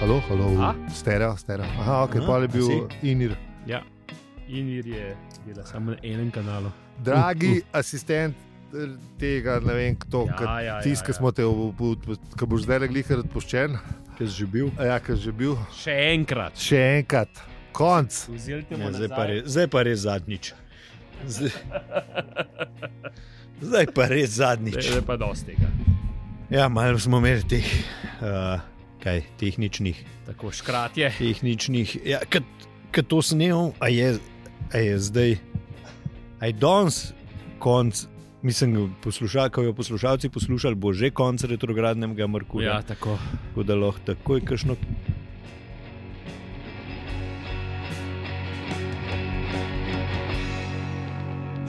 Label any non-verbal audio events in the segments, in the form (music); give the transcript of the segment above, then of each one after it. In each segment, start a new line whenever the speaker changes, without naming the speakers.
Halo, halo,
A?
stereo, stereo. Aha, ok,
A,
pa je
a
bil
si?
Inir.
Ja. In ir je bila samo na enem kanalu.
Dragi asistent eh, tega, ne vem, kdo,
Uh, Ja,
ja,
ja,
ja,
ja,
tisti, ki
ja.
smo te, ki boš zdaj glihar odpuščen,
ki si že bil.
ja, ki že bil,
Še enkrat.
še enkrat, konc.
Vzeli te
Ja,
bomo
zdaj, pa re, zdaj pa res zadnjič. Zdaj, zdaj pa res zadnjič.
Zdaj pa dosti tega.
Ja, malo smo imeli teh uh, kaj, tehničnih,
Tako škratje.
tehničnih. Ja, kad, kad to snemam, a je, a je zdaj, a je danes konc. Mislim, posluša, ko jo poslušalci poslušali, bo že konc retrogradnega Merkurja.
Ja, tako.
Tako da lahko takoj kašno.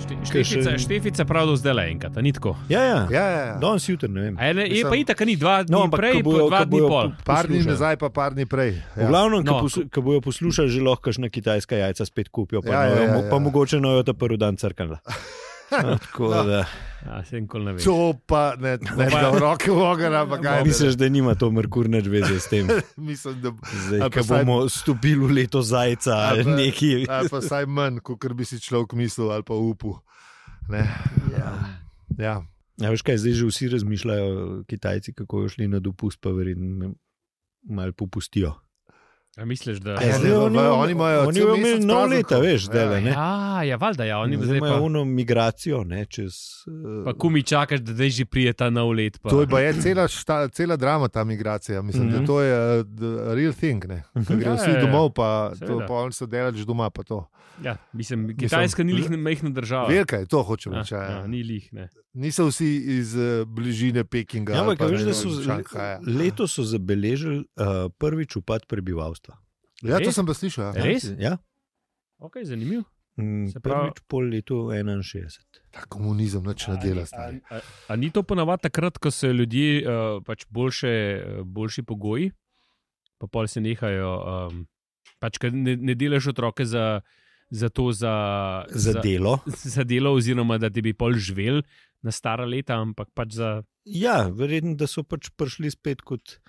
Šte-
Kaj še-
Štefica, štefica prav do zdaj le enkrat, a ni tako.
Ja, ja. ja.
Ja, ja, ja.
Danes jutri, ne vem.
A Je, ne, je
Mislim-
pa itak, a ni dva dni no,
ampak
prej,
ko bojo-
bo dva
ko
dni
bojo
pol.
po-
Par dni
poslušali.
nazaj, pa par dni prej.
V
Ja.
glavnem,
No,
no, ko bojo poslušali, že lahko na kitajska jajca spet kupijo, pa,
Ja,
ja,
ja, ja,
ja, pa
ja.
mogoče nojo ta prvi dan
(laughs)
crkala. Tako
No,
da
A, se nikoli ne veš.
To pa ne, ne
Pa-
da v roke v ogen, ampak kaj
misliš, da nima to Merkur nič veze s
(laughs)
tem,
Mislim, da
zdaj,
Ali pa
ko
saj-
bomo stopili v leto zajca ali
pa-
neki.
ali pa vsaj manj, kot bi si človek mislil ali pa upal. Ne. Ja.
Ja, veš kaj, zdaj že vsi razmišljajo, Kitajci, kako jo šli na dopust, pa verjetno malo popustijo.
A misliš, da...
Ja,
Ja,
zdaj imajo-
oni imajo-
oni imajo
oni
cel
imajo
mesec
imeli nov
praznikov.
leta, veš,
Ja.
zdaj ne.
Ja, ja, valjda, ja, oni
Zdaj
zdaj
imajo
pa...
ono migracijo, ne, čez. eh,
Pa kumi čakaš, da zdaj že prije ta nov let. Pa.
To je pa je cela, šta, cela drama, ta migracija. Mislim, mm -hmm.
Mhm.
da to je uh, the real thing. Ne? Da
Ja,
Grejo vsi
ja, ja.
domov, pa to
Seveda.
polno so delali doma. pa to.
Ja, mislim, Kitajska ni lih majhna država.
Velika je to, hočem
Ja,
reči. ja, ja.
ja, ni lih, ne.
Niso vsi iz uh, bližine Pekinga.
Ja,
ali
ampak
pa,
veš,
ne
da
vem, ja.
so
Šanghaja.
letos so zabeležili uh, prvič upad prebivalstva.
Ja, to
Res?
sem pa slišal. Ja.
Ja. Res?
Ja.
Ok, zanimiv.
Mm,
Se pravi-
Prvič po letu 61.
Ta komunizem nič
Ja,
ne dela. stari.
A, a, a ni to ponavadi takrat, ko so ljudje uh, pač boljše, uh, boljši pogoji, pa pol se nehajo. Um, pač, ker ne, ne delaš otroke za, za to, za,
Za delo.
za delo, oziroma da ti bi pol živel na stara leta, ampak pač za.
Ja, verjetno, da so pač prišli spet kot.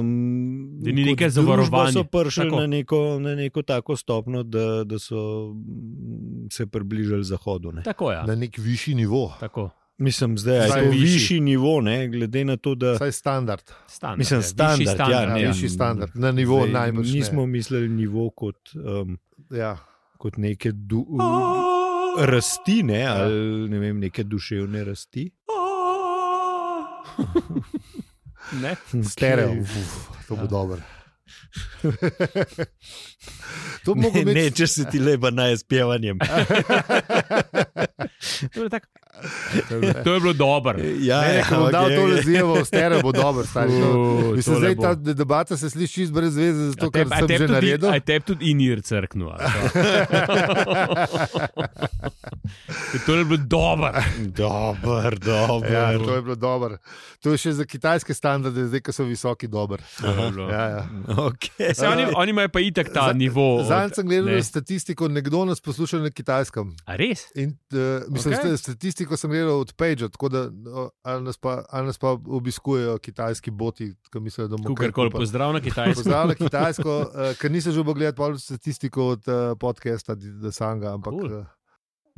Um,
Da ni neke
kot družba
zavarovanje.
So prišli
Tako.
na neko, na neko tako stopno, da, da so mm, se približali zahodu. Ne.
Tako je. Ja.
Na nek višji nivo,
Tako,
Mislim, da je
Zdaj
to
višji.
višji nivo, ne, glede na to, da
vsaj standard.
standard.
Mislim,
je, višji
standard, ja,
Ja,
ne.
višji standard, na nivo
zdaj
najbrž. ne.
nismo mislili nivo kot, um,
Ja.
kot neke du, rasti, ne,
ja.
ali ne vem, neke duševne rasti.
Ne?
Stereo,
Okej.
uf, to
Ja.
bo dobro. (laughs) to bo
(laughs) Ne,
mogoče. Ja,
ne, če si ti lepa naj s
(laughs)
pjevanjem.
To je, tak, to je bilo dobro.
Ja,
Ne, ne, ko bom dal
okej,
tole
okej.
zjevo, stero bo
(laughs)
dober. Stari,
U,
to, mislim,
tole
zdaj
bo.
ta de- debata se sliši čisto brez veze, zato
A
ker
tep- a
sem
tep
že
tudi-
naredil.
A te tudi inir crknu. ali kaj? to je bilo dobro.
Dober,
(laughs)
dober.
Ja, to je bilo dobro. To je še za kitajske standarde, zdaj ko so visoki, dober. Ja, ja.
Okay.
Se, E, oni, oni imajo pa itak ta
Za-
nivo.
Zanj sem gledal
ne.
statistiko, nekdo nas posluša na kitajskem.
A res?
In, uh, mislim,
Okej.
okay. Statistiko sem gledal od Pagea, tako da no, ali nas, pa, ali nas pa obiskujejo kitajski boti, ki mislijo, da bomo
Kukorkoli pozdrav na Kitajsku.
Pozdravljen Kitajsko, uh, ker nisem že mogel gledati statistiko od uh, podcasta The Sanga, ampak eh,
Cool.
cool.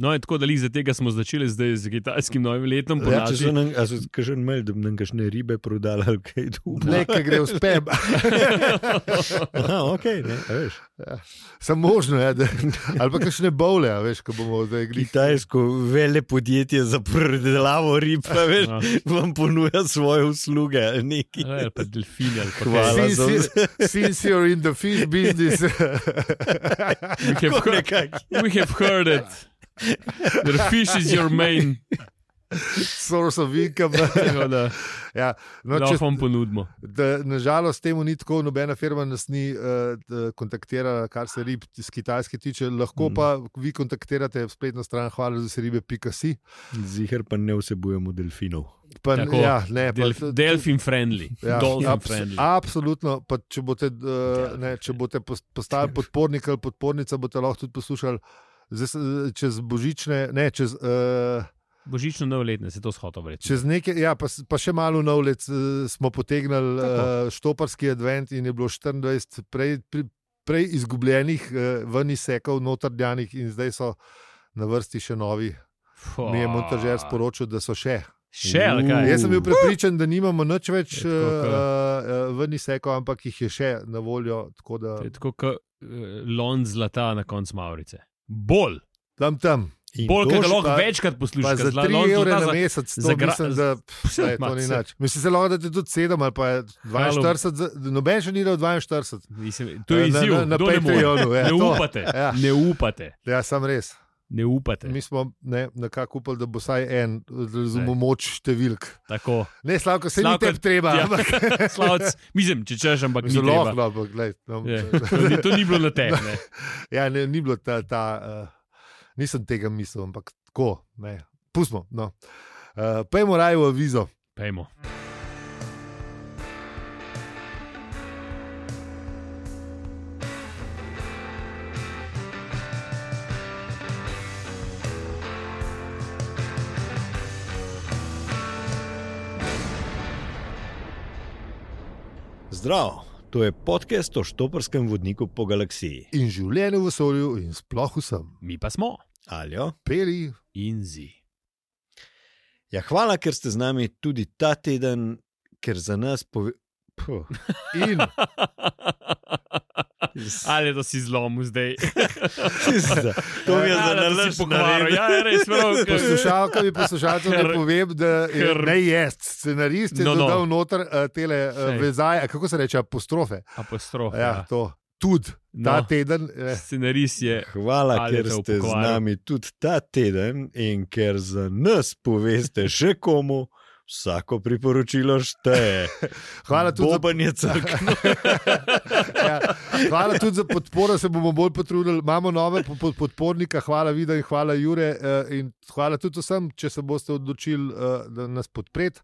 No, in tako da iz tega smo začeli zdaj z kitajskim novim letom. po
Ja,
naši-
če so nam, a so kažen mail, da bi nam kakšne ribe prodali ali kaj drugega.
ne, ki gre v spem.
Aha, okay, ne, (laughs) a veš.
Samo možno je, da, ali pa kakšne bole, a veš, ko bomo zdaj glih.
Kitajsko vele podjetje za predelavo rib, a veš,
Ja.
vam ponuja svoje usluge.
(laughs)
Neki.
Ja, ali pa delfini ali pa
Hvala.
kaj.
Since,
za
you- (laughs) since you're in the fish business, eh,
We have,
Tako
heard,
nekako.
we have heard it. The fish is your main.
source of income.
Tako da
Ja, no, če,
lahko vam ponudimo.
da, nažalost, temu ni tako, nobena firma nas ni uh, kontaktirala, kar se rib iz Kitajske tiče. Lahko
Mm.
pa vi kontaktirate spletno stran, hvala za se ribe.si.
Zihar pa ne vsebujemo delfinov.
Pa,
Tako.
ja, ne, pa,
Delf, delfin friendly.
Ja,
Ja, dolphin
abs-
friendly.
Absolutno. Pa, če boste, uh, ne, če boste pos- postali podpornik ali podpornica, boste lahko tudi poslušali. Zdaj, se- čez božične, ne, čez, uh,
Božično novoletne, se to shoto vreče.
Čez nekaj, ja, pa, s- pa še malo novlec eh, smo potegnili
Tako.
uh, štoparski advent in je bilo 24 prej, pri, prej izgubljenih, uh, ven izsekov, notrnjanih in zdaj so na vrsti še novi. Mi je Montažer sporočil, da so še.
Še ali kaj?
Uh.
Jaz sem bil prepričan, da nimamo nič več
Je Hm.
eh,
tako, ke-
eh, ven izsekov, ampak jih je še na voljo. tako Da,
To je tako kot lon zlata na koncu Maurice. Bolj,
tam, tam.
In
bolj
to
kot
dož-
lahko
pa-
večkrat
Pa
poslušaš.
za 3 evre na mesec, to
za gra- ja.
mislim, da
Vse
Saj, to ni nič. Mislim, zelo da ti tudi 7 ali pa je 42, za- noben še ni dal 42.
Mislim, to je
Na-
izziv,
na, na
kdo ne more?
Patreonu. ja,
Ne
to.
upate,
Ja.
ne upate,
Ja, sam res.
ne upate.
Mi smo ne, nekako upali, da bo vsaj en, razumemo moč številk. (laughs)
Tako,
Ne, slavko, se ni
Slavko,
tebi treba,
ja,
ampak
slavc, mislim, če češ, ampak (laughs) ni
zelo
treba. Ja.
lahko. ampak, glej, no.
Je, to, ni, to ni bilo na te. Ne.
Ja, ne, ni bilo ta, ta uh, nisem tega mislil, ampak tako, ne. Pustmo. No. Uh, Pejmo raje v avizo.
Pejmo.
Zdrav, to je podcast o štoparskem vodniku po galaksiji.
In življenje v vesolju, in sploh vsem.
Mi pa smo
Aljo.
Peli,
in zi.
Ja, hvala, ker ste z nami tudi ta teden, ker za nas pove.
(laughs)
Puh,
in
Ali da si zlomil zdaj?
pizda. to mi je za
Ali da
nalašč
si pokvaril. Ja, je res, prav. (laughs) ker-
Poslušalkam in poslušalcem
Ker-
ne povem, da je
ker-
ne jaz, scenarist je
No,
no,
no.
dodal no. noter uh, tele
Sej.
uh, vezaje, a kako se reče, apostrofe.
Apostrof.
Ja,
Ja.
to. Tudi ta
No,
no. teden, eh,
scenarist je.
Hvala,
Ali
ker
te
ste z
upokvaril.
nami tudi ta teden in ker za nas poveste še komu. Vsako priporočilo šteje.
(laughs) hvala, tudi za,
Boban je
(laughs)
crkva.
ja, hvala tudi za podporo, se bomo bolj potrudili. Imamo nove po- po- podpornike, hvala Vida in hvala Jure. eh, In hvala tudi vsem, če se boste odločili, eh, da nas podprete.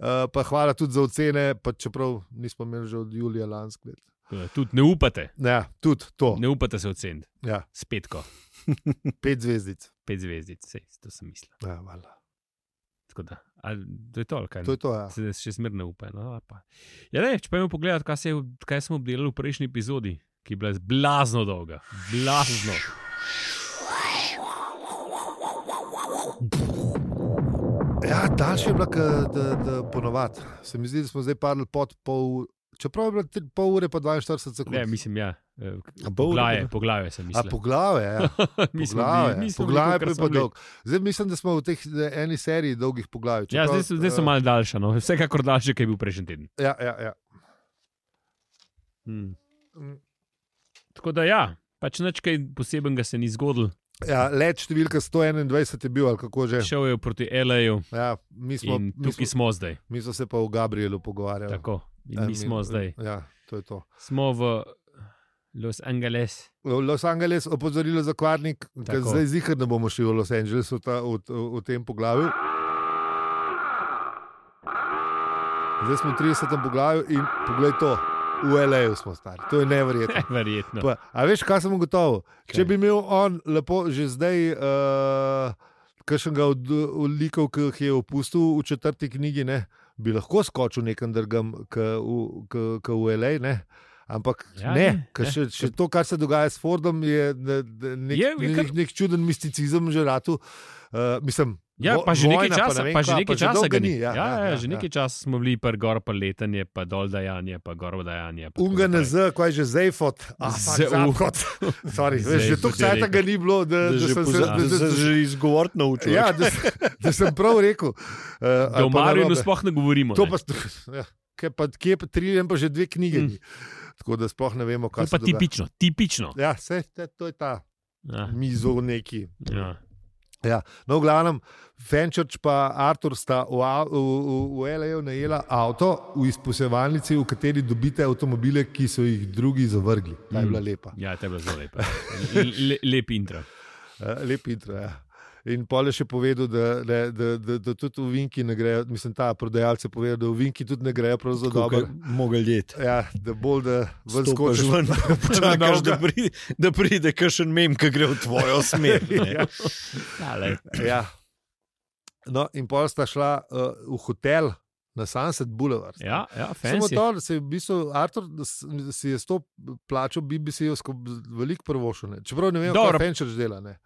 Eh, Pa hvala tudi za ocene, pa čeprav nismo imeli že od julija lansko leto.
eh, Tudi ne upate,
Ja, tudi to,
ne upate se oceniti.
ja,
Spet ko,
pet zvezdic.
pet zvezdic, sej, to sem mislil.
Ja, valjda.
Tako da, ali, to je to, ali kaj.
to je to, ja.
Se še zmerno upa. No, ali pa. ja, ne, če pa imamo pogled, kaj, se je- kaj smo obdelali v prejšnji epizodi, ki je bila blazno dolga. Blazno.
Ja, daljši je bilo, kot da, da ponovadi. Se mi zdi, da smo zdaj padli pod pol, čeprav je bilo tri- pol ure, pa 42 sekund.
Ne, mislim, ja. eh,
A pol ure
Poglaje,
pa-
poglaje sem
A
mislil. (laughs)
poglavje, ja.
Mi smo
poglavje,
bili- mi smo bili
poglavje
kolikor
pa je
smo
pa
bili.
dolg. Zdaj mislim, da smo v tej eni seriji dolgih poglavij.
Ja,
čeprav,
zdaj, so- zdaj so
eh,
malo daljša, no. (laughs) vsekakor daljši, kot je bil prejšnji teden.
Ja, ja, ja.
Hmm.
Mm.
Tako da, ja, pač nič kaj posebnega se ni zgodilo.
ja let številka 121 je bil, ali kako že.
Šel je proti L.A.U.
Ja, mi, Ja. smo,
in
mi, smo,
tukaj smo zdaj.
mi smo se pa v Gabrielu pogovarjali.
Tako. In
Ja,
mi smo zdaj.
Ja, to je to.
Smo v Los Angeles. (laughs)
V Los Angeles opozorilo za kvarnik, ker
Tako.
zdaj zihar ne bomo šli v Los Angeles v, ta, v, v, v tem poglavju. Zdaj smo v 30. poglavju in poglej to, v L.A.U. smo stari, to je neverjetno.
Verjetno.
Pa, a veš, kaj sem ugotovil? Če
Ja. Kaj?
bi imel on lepo že zdaj, uh, kakšnega od od likov, ki jih je opustil v četrti knjigi, ne, bi lahko skočil nekam drugam, kot v L.A., ne? ampak
Ja,
ja, ne,
ne,
ker
ne.
še, še to, kar se dogaja s Fordom, je ne- ne- nek,
Je, je kar-
nek, nek čuden misticizem že ratu. Uh, mislim,
Ja,
vo-
pa že nekaj
vojna,
časa,
ne vem
pa že
kva,
nekaj
že
časa
dolgo
ga ni.
Ja, ja, ja,
že nekaj časa smo bili pa gor, pa letanje, pa dol dajanje, pa gor dajanje. pa tako
Unga ne
naprej.
z, kaj že zdaj fot, a
Zeu.
zdaj kot.
(laughs)
Sorry, veš, že
Zejfot
toliko
je
časa
rekel.
ga ni bilo, da, da,
že
sem se
poza-
da-
da
da-
se že izgovoriti naučil.
(laughs) Ja, da, s- da sem prav rekel. Uh,
Da o Marinu sploh ne govorimo.
To
ne.
pa, st- (laughs) ja, kje pa, kje pa triljem pa že dve knjige.
Mm.
Mm. Tako da sploh ne vemo,
To
kaj
je pa
se dogaja.
tipično,
(laughs)
tipično.
Ja, se, te, to je ta
Ja,
mizo neki.
ja.
No, v glavnem, Fenčerč pa Artur sta v, av- v, v, v L.A.U. najela avto v izposevalnici, v kateri dobite avtomobile, ki so jih drugi zavrgli. Ta je bila lepa.
ja to je bilo zelo lepo.
(laughs)
Le, lep intro.
Eh, Lep intro. Ja. In pol je še povedal, da, da, da, da, da tudi v Vinki ne grejo, mislim, ta prodajalce povedal, da v Vinki tudi ne grejo prav za dobro.
Mogel jeti.
Ja, da bolj da ven
Stopiš
skočiš.
ven, (laughs)
dolga.
počakaš, da pride, da (laughs) Ja, pride kakšen mem, ki gre v tvojo smer. ne.
Ja.
Ja, lej.
Ja. No, in pol sta šla uh, v hotel na Sunset Boulevard.
Ja, ja
Samo
fancy.
to, da se je v bistvu Artur s- si je s to plačo, bi bi si jo skob- veliko prvošil. ne. Čeprav ne vem,
Dobro.
kako Fenčer dela. Ne.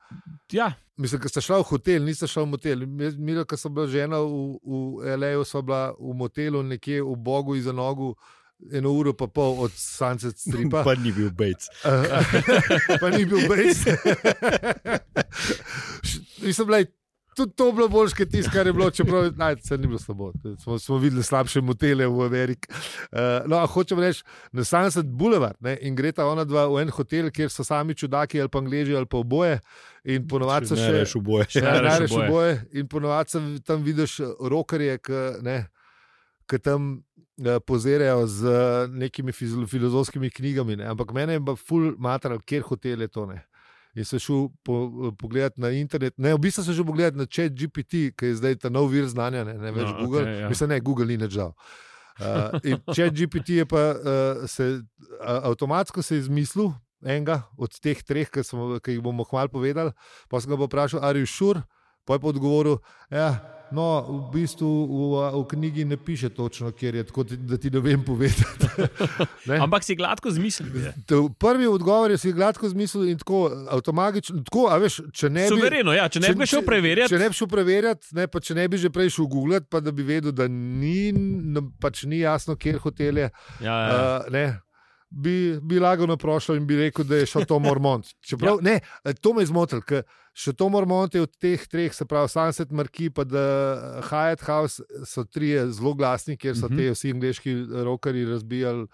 Ja,
Mislim, da sta šla v hotel, nista šla v motel. Mi- Mi, ko smo bila žena v, v L.A., smo bila v motelu nekje v Bogu iz Nogu. Eno uro pa pol od Sunset Stripa,
Pa ni bil Bejc.
Eh, (laughs) pa ni bil brez. (laughs) Mislim, da je tudi to bilo bolj kot tisto, kar je bilo, čeprav naj, se ni bilo slabo. Smo, smo videli slabše motele v Ameriki. Uh, no, a hočem reči, na Sunset Boulevard ne, in gre ta ona dva v en hotel, kjer so sami čudaki ali pa angliži ali pa oboje. In ponovadi so
Ne,
še.
reš v boje.
Še
Ja,
najrajši
najreš
oboje.
oboje. In ponovadi se tam vidiš rokerje, ki tam eh, pozirajo z eh, nekimi fizilo- filozofskimi knjigami. Ne. Ampak mene je pa ful mater, kjer hotel je to. Ne. In sem šel po, eh, pogledat na internet, ne, v bistvu sem šel pogledat na chat GPT, ki je zdaj ta nov vir znanja, ne, ne več
No,
no, Google.
okej,
Okay,
ja.
ja. Mislim, ne, Google ni več žal. Uh, in če GPT je pa uh, se, uh, avtomatsko se je izmislil enega od teh treh, ki, smo, ki jih bomo hmal povedali, pa sem ga pa vprašal, ali je šur, pa je pa odgovoril, ja, no, v bistvu v, v knjigi ne piše točno, kjer je, tako da ti ne vem
(laughs)
povedati. Ne?
ampak si gladko zmislil.
To Prvi odgovor je si gladko zmislil in tako avtomatično, tako, a veš, če ne bi.
Suvereno, ja, če ne bi ga šel preverjati.
Če ne bi šel preverjati, ne, pa če ne bi že prej šel googlati, pa da bi vedel, da ni, n- pač ni jasno, kje hotel je.
Ja, ja.
Uh, ne, bi, bi lagano prošel in bi rekel, da je šel to Mormont. Čeprav, ja. ne, eh, to me je zmotil, ker še to Mormont je od teh treh, se pravi Sunset Marki, pa da Hyatt House so trije zelo glasni, ker so
Mhm.
te vsi angliški rokari razbijali.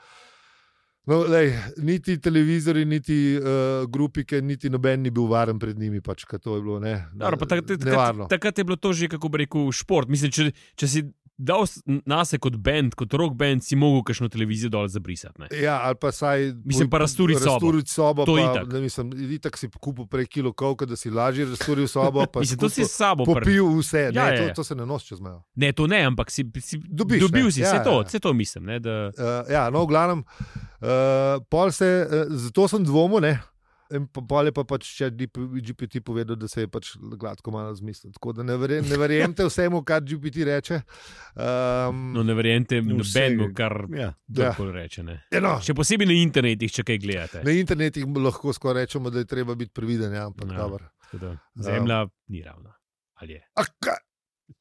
No, lej, niti televizori, niti uh, grupike, niti noben ni bil varen pred njimi. Pač, ker to je bilo ne,
Dobro, pa tak- tak- takrat,
nevarno.
takrat je bilo to že, kako bi rekel, šport. Mislim, če, če si dal s- nase kot bend, kot rock band, si mogel kakšno televizijo dol zabrisati. Ne?
Ja, ali pa saj.
Mislim, pa razturiti sobo.
Razturiti sobo,
To
pa,
itak.
ne, mislim, itak si kupil prej kilo kovka, da si lažje razturil sobo. pa
Mislim, to si
skupil-
s sabo pri...
Popil vse,
Ja,
ja,
ja,
ne,
ja.
to, to se ne nosi čez mejo.
Ne, to ne, ampak si, si
Dobiš,
dobil
ne.
si,
Ja,
vse
ja,
to,
ja.
vse to mislim. Ne, da...
Uh, ja, no, v glavnem, uh, pol se, uh, zato sem dvomil, ne. In pa- pol je pa pač še DP GPT povedal, da se je pač gladko malo zmislil. Tako da ne, verjem, ne verjemite vsemu, kar GPT reče. Um,
No, ne verjamem
Vsega.
nobeno, kar
Ja.
Ja.
kdo reče. Ne.
eno,
Še posebej na internetih, če kaj gledate.
na internetih lahko skoraj rečemo, da je treba biti previden, ja, ampak
Ja.
ja. dobro.
Tako da Zemlja ni ravna. Ali je?
A ka-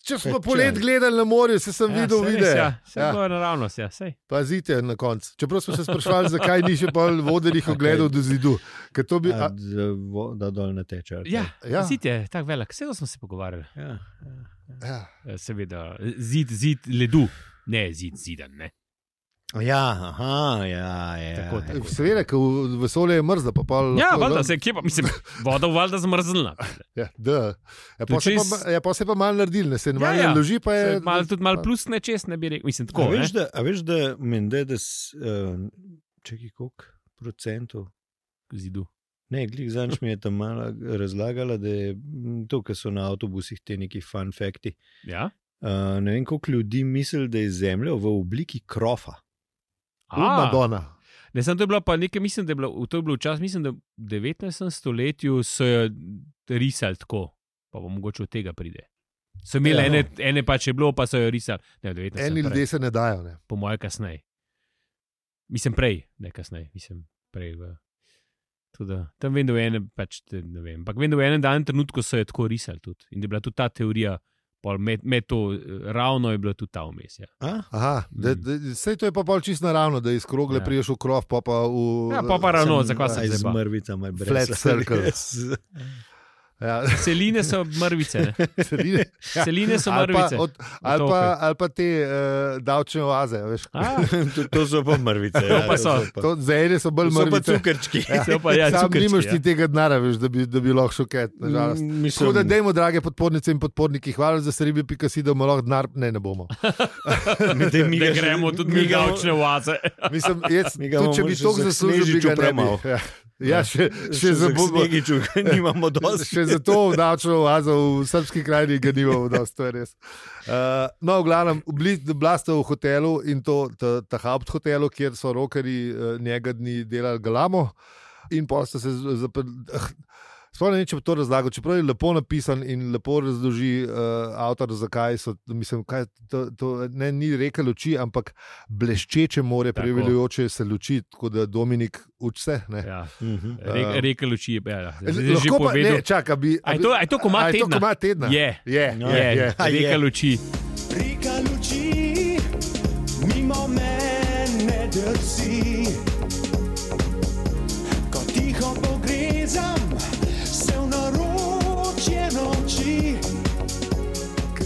Če
Pa
smo
če.
polet gledali na morju, se sem
ja,
videl
saj res,
videe.
Ja, vse
Ja.
ja. je naravno, ja, sej.
Pazite na koncu. Čeprav smo se sprašvali, zakaj ni še bolj vodenih ogledov do zidu. Ker To bi, a,
A, da, vo- da dol ne teče. ali
Ja,
Ja.
ja. Zid je tako velik, vse smo se pogovarjali.
kaj? ja.
ja.
Eh, Seveda, zid, zid ledu, ne zid, zidan. Ne.
Ja, aha, ja, ja.
Tako, tako.
Seveda, ker v- vesolje je mrzlo, pa pol.
Ja,
lahko-
valjda, se kje pa, mislim, voda je valjda
(laughs)
zmrznila.
Ja, da. Ja, pa se
Čez-
pa, ja, pa se pa malo naredil, ne se ne
Ja,
malo
ja.
ja, loži, pa je.
Se Mal, tudi malo plus nečes ne bi rekel, mislim, tako.
A veš,
ne.
da, a veš, da mende, da s, uh, če je koliko procentov.
Zidu.
Ne, glej, zanč mi je tam malo razlagala, da je m, to, kar so na avtobusih te neki fun fakti.
Ja?
Uh, ne vem, koliko ljudi misli, da je zemlja v obliki krofa.
U, Madonna.
ne, sem to je bilo pa nekaj, mislim, da je bilo, to je bilo včasih, mislim, da v 19. stoletju so jo risali tako, pa bo mogoče od tega pride. So imeli
Ja.
ene, ene pač je bilo, pa so jo risali. Ne, v 19.
Eni
prej.
ljudje se ne dajo. Ne.
po mojem, kasneje. Mislim, prej, ne kasneje, mislim, prej. V... tako Da, tam vem, da je eno, pač te- ne vem. Ampak vem, da v enem danem trenutku so jo tako risali tudi. In da je bila tudi ta teorija, pol med, med to eh, ravno je bila tudi ta vmes. Ja.
A?
Aha, da, da, sej to je pa pol čisto naravno, da iz krogle
Ja.
ja. priješ v krov, pa pa v.
Ja, pa pa ravno. No, zakaj sem
zdaj
zdaj pa?
zmrvica, moj brez.
Flat
(laughs)
circle. Ja, (laughs)
Celine so mrvice, ne?
sredine. (laughs) Ja.
celine (laughs) so
Ali pa,
mrvice.
od, ali, pa, ali pa te uh, davčne oaze. veš. (laughs)
A,
to, to so pa mrvice. ja,
To pa so.
To, za ene so bolj
To so pa
mrtvi.
cukrčki.
(laughs) Ja.
to pa, ja,
Sam
cukrčki,
nimaš
ja.
ti tega denarja, veš, da bi, da bi lahko šel kaj. nažalost.
Mm, (laughs) mislim-
Tako da, dajmo, drage podpornice in podporniki, hvala za seribi, pika si, da bomo lahko denar, ne, ne bomo.
Da mi
Da
ga-
gremo tudi mi,
ga-
davčne oaze.
Mislim, jaz,
(laughs) Mi ga
tudi,
bomo
če bi
še
to
za
zaslužil, bi
Snežiču
ga ne bi.
premal.
(laughs) Ja, ja, še, še, za bobo, Ja.
Bogiču, nimamo dosti.
še za to davčno oazo v srpski krajini ga nimamo, da to je res. Uh, no, v glavnem, bili- bila ste v hotelu in to ta, ta Haupt hotelu, kjer so eh, rokari uh, njega dni delali galamo, in pa ste se zaprli. Sploh ne vem, če bi to razlagal, čeprav je lepo napisan in lepo razloži uh, avtor, zakaj so. Mislim, kaj, to, to ne, ni rekel luči, ampak bleščeče more,
Tako.
preveljujoče se luči, tako da Dominik uči se. Ne.
Ja.
Mhm.
Re, rekel oči je, ja,
Eh,
zdaj si že
lahko pa-
povedal.
ne, čaka, bi,
A je to- a je to komad
a je
tedna?
komad tedna?
Je,
Je,
No.
je, je.
je,
A, je.
rekel oči.
Reka luči, mimo mene drsi. Ko tiho pogrezam, se v naročje noči.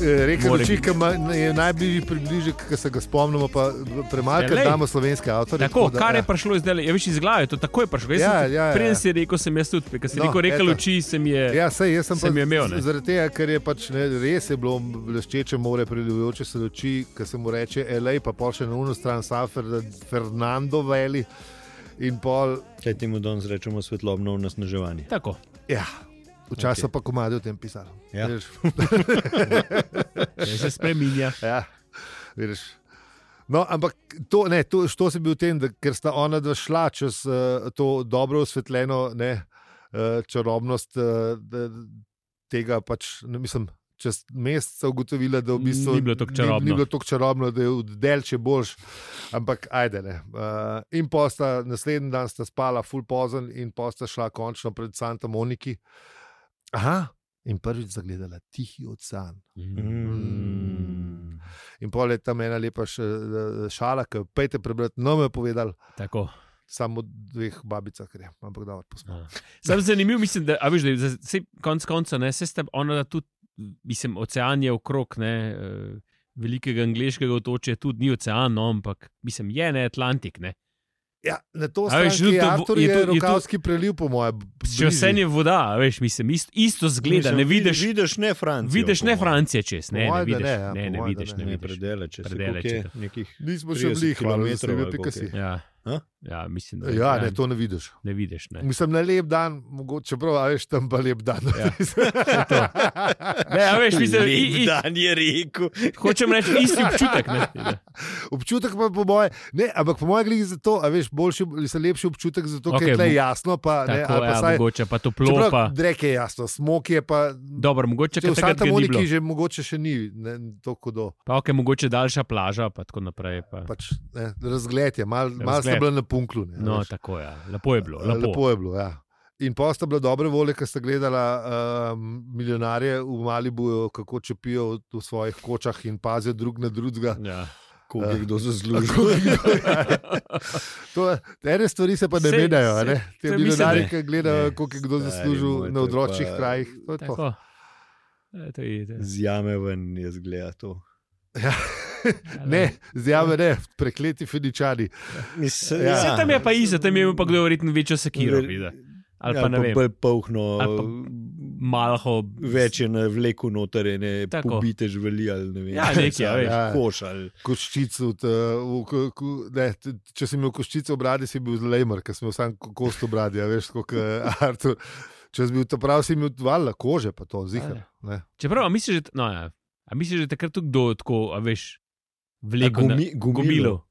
Eh, Rekel
More
luči,
biti.
ki ima- je najbližji približek, ki se ga spomnimo, pa premalo, ker
Ja, lej.
damo slovenske avtorje.
Tako,
da,
kar je
ja.
prišlo zdaj, je več iz glave, to takoj je prišlo. Jaz
Ja,
sem tudi-
ja, ja.
Preden si rekel, sem jaz tudi, ker si
No,
rekel, rekel
eto.
oči, sem je.
Ja, sej, jaz sem
Sem
pa
jo imel, ne.
z- Zaradi tega, ker je pač ne, res je bilo bleščeče more, preljubljujoče se oči, ki se mu reče L.A., pa pol še na unu stran San Fer- Fernando Veli in pol,
Kaj temu danes rečemo svetlobno onesnaževanje?
Tako.
ja, včasih okay. pa komadi o tem pisali.
Ja.
Veš,
Ja, se spreminja.
(laughs) ja, vidiš. No, ampak to, ne, to, to si bil v tem, da, ker sta ona dva šla čez uh, to dobro osvetljeno ne, uh, čarobnost uh, tega, pač, ne, mislim, čez mesec ugotovila, da v bistvu
Ni bilo tako
Ni,
čarobno.
ni bilo tako čarobno, da je del če boš, ampak ajde ne. Uh, in posta naslednji dan sta spala, full pozen in posta šla končno pred Santa Moniki. Aha, in prvič zagledala tihi ocean.
Mm.
In pol je tam ena lepa še, eh, šala, ki jo pejte prebrati, no me je povedal,
Tako.
samo o dveh babicah gre, ampak da odpustimo.
Sam zanimiv, mislim, da a veš, da je za- saj konec konca, ne, se sta ona da tudi, mislim, ocean je okrog, ne, eh, velikega angliškega otočja tudi ni ocean, no, ampak mislim, je ne Atlantik, ne.
Ja, na to
A
se
veš, tudi
je
to bo-
avtor
je
je
to- je to-
rokavski preliv, po mojem.
Še vse je voda, a veš, mislim, isto, isto zgleda,
Mislim,
ne vidiš,
Vidiš ne Francijo.
vidiš
po
ne
moje.
Francije čez, ne,
Po
ne
moje, da
vidiš,
ne, ja, po
ne, ne
moje, da
vidiš,
ne.
ne
Ne
vidiš.
predele, če se
Predele,
koliko je
če to-
nekih.
Nismo še
30
bili, hvala, da ste
kilometrov
bili
ali
pikasi.
koliko
Ja,
A?
ja, mislim, da
Ja, ne, to ne vidiš.
ne vidiš, ne.
Mislim, na lep dan, mogoče prav, a veš, tam pa lep dan.
Ja. (laughs) Ne, a veš, mislim, i, i,
Dan je rekel.
hočem reči isti občutek, ne.
(laughs) občutek pa po moje, ne, ampak po mojem gledi zato, a veš, boljši, mislim, lepši občutek zato, okay, ker
Okej,
je tle
mo-
jasno, pa ne,
Tako,
ali pa
ja,
saj,
mogoče pa toplo, pa
čeprav drek je jasno, smok je pa,
Dobro, mogoče
če
je
v Santa
tam tudi
Moniki
nekaj.
že mogoče še ni, ne, to kodo.
Pa ok, mogoče daljša plaža, pa tako naprej. Pa.
pač, ne, razgled je, malo mal sta
Razgled.
bila na punklu. Ne,
No,
veš.
tako je. Ja. Lepo je bilo.
Eh,
Lepo.
lepo je bilo. Ja. In pa sta bila dobre volje, ker sta gledala um, milijonarje v Malibuju, kako čepijo v, v svojih kočah in pazijo drug na drugega.
Ja.
Koliko je kdo
Tako
zaslužil?
je bilo, ja. (laughs) To- Ene stvari se pa ne
Sej-
vedajo.
sej-
a ne. Ti
sej
milijonarji,
mislim,
ki gledajo,
Ne,
koliko je kdo
stari moj,
zaslužil
to
na
je
odročnih
pa-
krajih. To je to.
Tako. E, to je, to je.
Zjame ven je zgleda to.
ja,
Ne, zjave ne, prekleti feničani.
Mislim,
Ja.
Vse tam je pa isto, tam je imel pa kdo verjetno večjo sekiro. videl. Ali pa ne vem,
ja, Bolj polhno.
Ali pa malo
Več je na vleku noter, ne
Tako.
pobite živali ali ne vem.
Ja, nekaj, a veš.
Ja.
Koš ali.
koščico. t- v ko- ko- ne, t- Če si imel koščico v bradi, si bil zlejmer, ker si imel sam ko- kost v bradi, a veš, kot (laughs) Artur. Če si bil ta prav, si imel valj, kože pa to, zihar. ne.
Čeprav, a misliš, da, no, ja. a misliš, da takrat tudi kdo tako, a veš, vleko
A
na-
gumi- gumilo?
gumilo.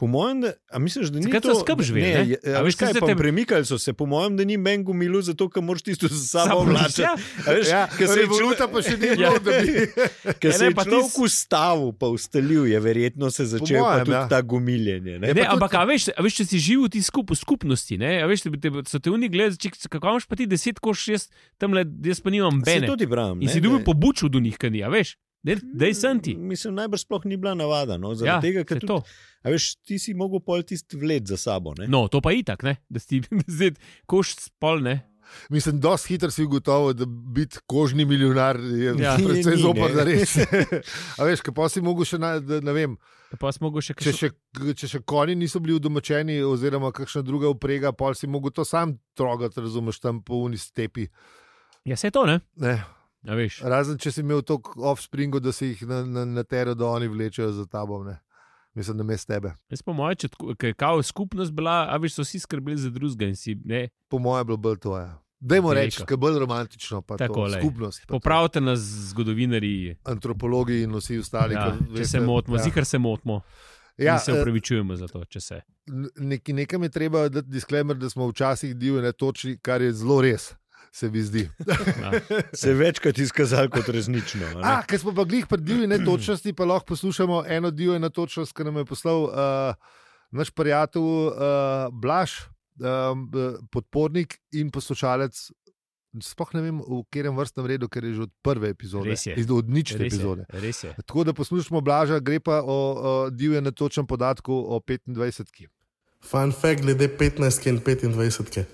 Po mojem, da, a misliš, da ni
Takrat so
to
skrb živeli,
Ne,
ne?
je-
A
a
veš,
veš kaj,
zdaj
pa
te-
premikali so se, po mojem, da ni meni gumilo, zato ker moraš tisto s sabo
Samo
vlačiti.
ja.
A Veš,
Ja,
ker se je
revoluta
člo-
pa še (laughs) ni
Ja.
bilo, da bi.
Ker
Ja,
se
ne,
je
pa ti
človek
s-
ustavil, pa ustalil je, verjetno se je začel
mojem,
pa tudi
ja.
ta gumiljenje. Ne?
Ne,
pa tudi-
ampak, a veš, a veš, če si živel ti skup, v skupnosti, ne, a veš, da bi te, so te oni gledali, če- kako imaš pa ti deset koš, jaz tam le, jaz pa nimam
Se
bene.
tudi bram.
In si dobil pobuč od njih, kaj ni, a veš, Daj- daj sem ti.
Mislim, najbrž sploh ni bila navada. No,
Ja,
zaradi tega, ker
saj
tudi,
to.
a veš, ti si mogel pol tisti vled za sabo. Ne?
No, to pa itak, ne, da si (laughs) ti zdaj koš spolne.
Mislim, dosti hitro si ugotovil, da biti kožni milijonar je
Ja.
ja. (laughs) precej
Ni,
zoper
ne.
za res. (laughs) A veš, kaj pa si mogel še, na, da, ne vem,
Pa smo mogli še
če
kaj.
še, če še konji niso bili udomačeni, oziroma kakšna druga uprega, pol si mogel to sam trogati, razumeš, tam po uni stepi.
Ja, se to, ne,
Ne.
a veš.
Razen če si imel toliko offspringov, da si jih na, na, na teru, da oni vlečejo za tabo. Ne? Mislim, da mes tebe.
Jaz pa moje, če tako- ker je kao skupnost bila, a veš, so vsi skrbeli za drugega in si, ne,
Po mojem, je bilo bolj to. Ja. Dajmo
Veliko.
reči, kaj je bolj romantično, pa
Tako,
Tako, to,
lej.
skupnost. Pa to.
popravite nas zgodovinarji.
Antropologi in vsi ostali.
Ja,
ki
če
veste,
se motimo, ja. zihar se motimo. Ja,
Ja,
se
eh,
upravičujemo za to, če se.
nek, nekam je treba dati disclaimer, da smo včasih divni, netočni, kar je zelo res. se mi zdi.
ja.
se je večkrat izkazalo kot resnično. a ne.
Ah,
A, ker smo pa glih pridili netočnosti, pa lahko poslušamo eno dio in netočnost, ki nam je poslal uh, naš prijatelj uh, Blaž, um, eh, podpornik in poslušalec. Sploh ne vem, v katerem vrstnem redu, ker je že od prve epizode,
Res je.
iz- od nične
Res je,
epizode.
res je.
Tako da poslušamo Blaža, gre pa o, o divjem netočnem podatku o 25.
(laughs)
Fun fact glede 15 in 25.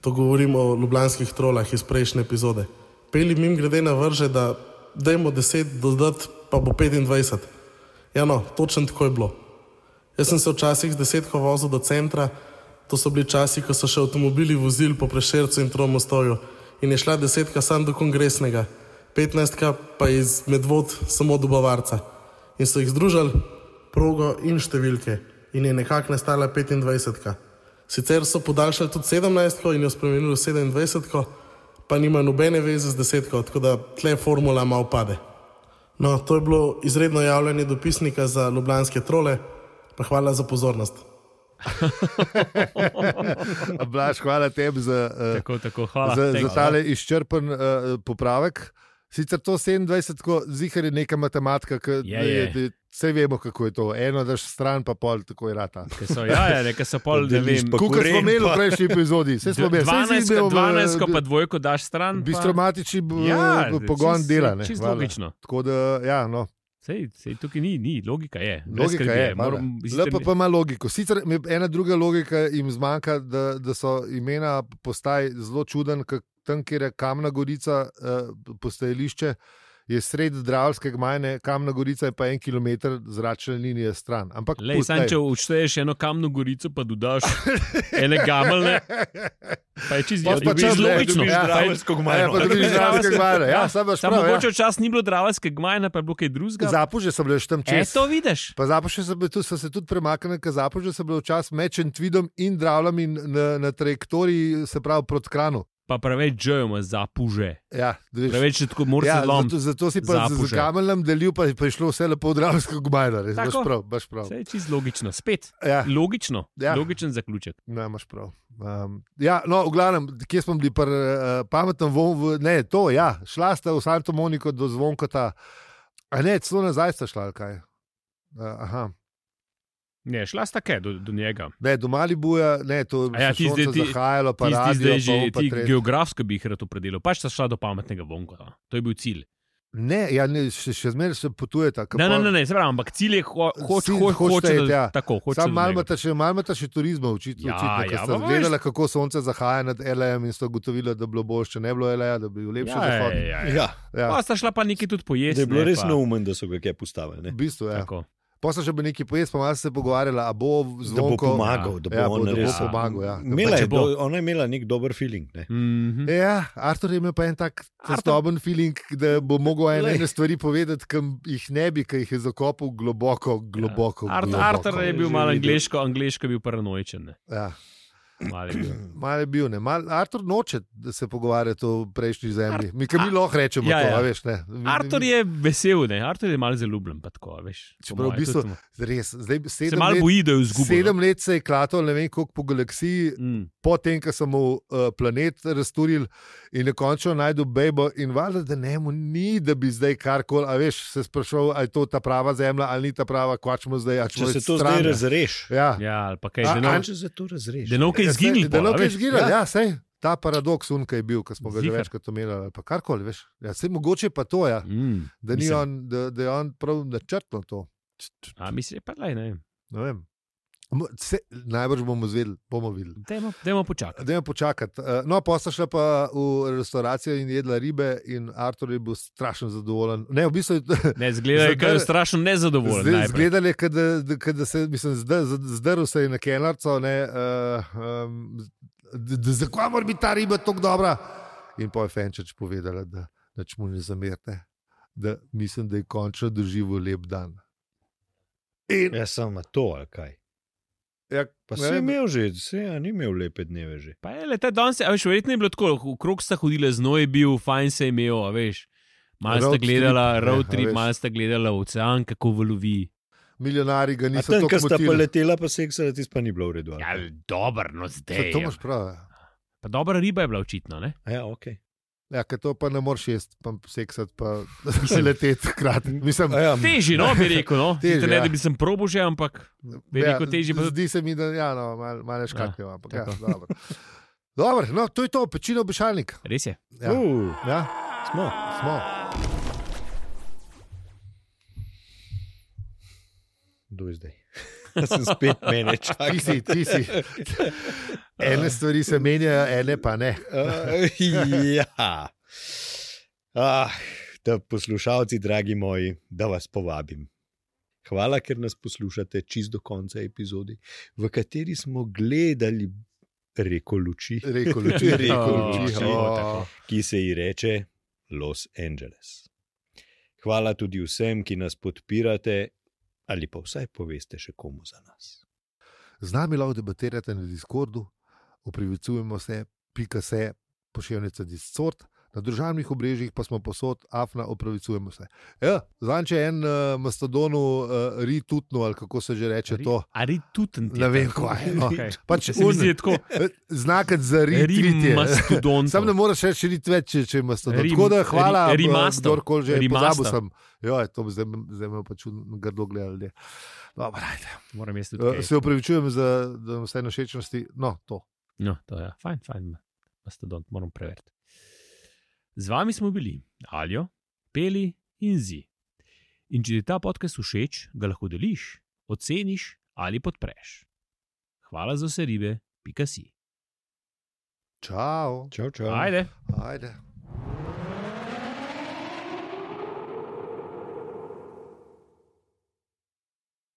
To govorimo o ljubljanskih trolah iz prejšnje epizode. Peli mi grede na vrže, da dajmo 10 dodati, pa bo 25. Ja, no, točno tako je bilo. Jaz sem se včasih z desetko vozil do centra, to so bili časi, ko so še avtomobili vozili po Prešercu in Tromostovju in je šla desetka sam do kongresnega, petnajstka pa iz Medvod samo do Bavarca. In so jih združili progo in številke in je nekako nastala 25. Sicer so podaljšali tudi 17 in jo spremenili v 27, pa nima nobene veze z desetko, tako da tle formula malo pade. No, to je bilo izredno javljanje dopisnika za ljubljanske trole, pa hvala za pozornost.
Blaž, hvala tebi za, eh,
Tako, tako, hvala.
za, za
thanks.
tale izčrpen uh, popravek. Sicer to 27, zihar je neka matematika, ki
Je,
da
je.
da vse vemo, kako je to. Eno daš stran, pa pol tako je rata.
Ker so, ja, ja, ne, ker so pol, ne vem,
Pa
Kot smo
koren,
imeli v
pa-
prejšnji epizodi, vse smo imeli. Saj si
12,
imel, eh,
12, pa dvojko daš stran. Pa...
Bistromatični b-
Ja,
pogon
čist-
dela. ne,
čist
hvala.
logično.
Tako da, ja, no,
Sej, sej, tukaj ni, ni, logika je. brez
Logika
skrbi,
je,
moram- sicer
lepo pa ima logiko. Sicer mi ena druga logika jim zmanjka, da, da so imena postaj zelo čuden, ker tam, kjer je Kamna Gorica, eh, postajališče, je sred Dravske gmajne, Kamna Gorica je pa en kilometr zračne linije stran. Ampak
Lej,
pustaj.
sam, če odšteješ eno kamno gorico, pa dodaš ene gamelne, pa je čisto
Pa
ja,
pa čas,
dobiš
ne,
logično.
dobiš
pa je-
Draveljsko gmajno.
Ja, pa dobiš
Dobiš
Dravske
Dravske-
gmajne. Ja, sam baš
Samo
prav. Ja.
mogoče včasih ni bilo dravske gmajne, pa je bilo kaj drugega.
Zapuže sem bil že tam
E,
čez.
to vidiš.
Pa zapušče se, tu, so se tudi premaknili, ker zapušče se bilo včasih med Čentvidom in Dravljami na, na trajektoriji, se pravi proti Kranu.
Pa preveč žejemo zapuže.
Ja, da veš.
Preveč je tako morce ja, lom.
zato, zato si pa z- z
zapuže.
kameljem delil, pa je prišlo vse lepo od Ravnskega gmajna, res imaš
Tako.
prav. Baš prav.
Vse je čisto logično. Spet.
Ja,
Logično.
(laughs) Ja.
Ja. Logičen zaključek.
ne, imaš prav. Um, ja, no, v glavnem, kje smo bili, pri, uh, pametno, v, ne, to, ja, šla sta v Santo Moniko do zvonkota, a ne, celo nazaj sta šla, ali kaj. Uh, aha,
Ne, šla sta kaj do, do njega.
ne, do Malibuja, ne, to
A
je
ja,
ja,
ti zdaj- ti-
zahajalo, pa
Ti
radio,
si zdaj
pa on
že
pa
ti
tretji.
geografsko bi jih rad opredelil. Pač sta šla do pametnega vonka. To je bil cilj.
Ne, ja, ne, še, še zmeraj se potujeta. ke
Ne, ne,
pol-
ne, ne se pravi, ampak cilj je, ho, hoč,
Cilj,
ho,
hočete
hoče,
iti,
da,
ja.
tako, hoče,
Sam
da
malo imata še, malo imata še turizma, očitno.
Ja,
očitno ja,
ja,
sta
pa
gledala,
veš-
kako sonce zahaja nad LM in sta ugotovila, da bi bilo bolje, če ne bi bilo LM, da bi bil lepši
Ja,
zahod.
ja, ja, ja.
Ja,
Ja,
Pa sta šla pa nekaj tudi
da
pojesti.
je bilo
ne,
res
pa-
neumen, da so ga kje
v
postavili. Ne?
bistvu je. Ja.
Tako.
Posla še bi nekaj pojesti, pa malo sta se pogovarjala, a bo
Da bo
zvonko.
pomagal, da bo
ja,
on
da bo
res
pomagal. Ja. Da
Imela
Pa če
je
bo.
do- Ona je imela nek dober feeling. Ne?
Mhm.
bo- Ja, Artur je imel pa en tak testoben feeling, da bo mogel ene,
Glej.
ene stvari povedati, ki jih ne bi, ki jih je zakopal globoko, globoko.
Art,
globoko.
Arthur Ja, je bil
Že
malo
videl.
angliško, angliško je bil paranoičen. ne.
Ja,
Malo je bil.
malo je bil, ne. Mal, Artur noče, da se pogovarjate o prejšnji zemlji. Mi, kar mi lahko rečemo,
Ja,
to,
ja.
a veš, ne. Mi-
Arthur je vesel, ne? Arthur je malo zaljubljen. pa Tako, a veš, po
Čeprav v
moje,
bistvu
tudi-
res, zdaj
se
sedem
malo
let.
boji, da je izgubil. no.
Sedem let se je klatil, ne vem koliko po galaksiji,
Mm.
potem, ko sem mu uh, planet razturil in na koncu najdel Bejbo. In valjda, da ne mu ni, da bi zdaj karkoli, a veš, se sprašoval, ali je to ta prava zemlja ali ni ta prava, kvačmo zdaj. a
Če
čmo
se
iti
to
stran,
zdaj
ne.
razreši,
Ja,
Ja, ali pa kaj,
A-
da
a-
ne
če se to razreši.
Da ne
Ja,
kaj
saj,
izginil.
Da ne
pol, a
boš
veš.
izginil,
Ja.
ja, sej. Ta paradoks unka je bil, ki smo ga že
Zihar.
večkrat omenjali, ali pa karkoli, veš. Ja, sej mogoče pa to, ja,
Mm.
da, ni
Mislim.
on, da, da je on prav načrtno to.
A misliš, pa lej, ne vem.
Ne vem. Mo- Se, najbrž bomo zvedeli, bomo videli.
Dajmo, dajmo (laughs) počakati.
Da je počakati. Eh, No, posla šla pa v restavracijo in jedla ribe, in Artur je bil strašno zadovoljen. Ne, v bistvu je
Ne, zgleda, je
Zdaj-
kar strašno nezadovoljen.
zdaj
najprej.
izgledalo, je, kot da- da- kot da se mislim, zd- zd- zdrl se je na kenarco, ne, eh, em, d- d- zakaj mora biti ta riba tako dobra. In pa je Fenčeč povedala, da nič mu ne zamerite, da mislim, da je končno doživel lep dan. In,
Ja, samo to, ali kaj.
ja,
Pa
ne
si
vem,
imel že, si ja, ni imel lepe dneve že.
Pa je le ta danes, a veš, verjetno je bilo tako, okrog sta hodila, znoj je bil, fajn se je imel, a veš. Malo sta
Road
gledala
trip, ne,
road
a
trip,
veš.
malo sta gledala ocean, kako vlovi.
Milijonari ga
A
niso
tam,
tako
kjer sta
motili.
poletela, pa seksala, ti pa ni bilo v redu. ali
Ja,
kaj?
dobro, no zdaj.
To imaš prav. ja.
Pa dobra riba je bila očitno, ne?
Ja, okay.
Ja, ker to pa ne moreš jesti, pa seksati, pa se
Mislim-
leteti hkrati. Mislim,
ja,
Teži, no, bi rekel. No.
Mm. (laughs) Težje,
Teži, ne,
ja.
da bi sem probo že, ampak veliko
ja,
težje. pa-
Zdi se mi, da ja, no, malo mal škatke, ja, ampak ja,
tako.
dobro. Dobro, no, to je to, pečino obešalnik.
Res je.
Ja.
Uh,
Ja,
smo.
smo.
Kdo je zdaj? (laughs) Jaz sem spet menedžer.
(laughs) Ti si, ti si.
(laughs)
Ene stvari se menjajo, ene pa ne.
Uh, ja. Ah, da poslušalci, dragi moji, da vas povabim. Hvala, ker nas poslušate čist do konca epizode, v kateri smo gledali reko luči,
Reko
Ja,
luči, reko
O,
luči.
tako,
o.
no, tako.
ki se ji reče Los Angeles. Hvala tudi vsem, ki nas podpirate, ali pa vsaj poveste še komu za nas.
Z nami lahko debatirate na Discordu, oprivicujemo se, pika se, pošiljnica Discord. Na državnih obrežjih pa smo posod, afna, opravičujemo se. Ja, Zanče je en uh, mastodonu, uh, ritutno, ali kako se že reče to.
Ari tutn.
Ne vem, kaj je. No.
Okay.
Pač
Se mi
un-
zdi da je tako,
Znak za
rim,
ritritje. (laughs)
mastodon.
Sam ne moreš reči nič več, če, če imaš to.
Rim-
Tako da hvala,
ri- rimaster.
kdorkoli že je.
Rimaster.
Pozabil sem. Jo, to bi zdaj, zdaj me pač grdo gledali. Dobar,
Moram jaz tudi.
okay.
kaj.
Se upravičujem za za vse našečnosti. No, to.
No, to je fajn, fajn, mastodon, moram preveriti. Z vami smo bili Aljo, Peli in Zi. In če ti je ta podcast všeč, ga lahko deliš, oceniš ali podpreš. Hvala za vse ribe, pika si.
Čau.
Čau, čau.
Ajde.
Ajde.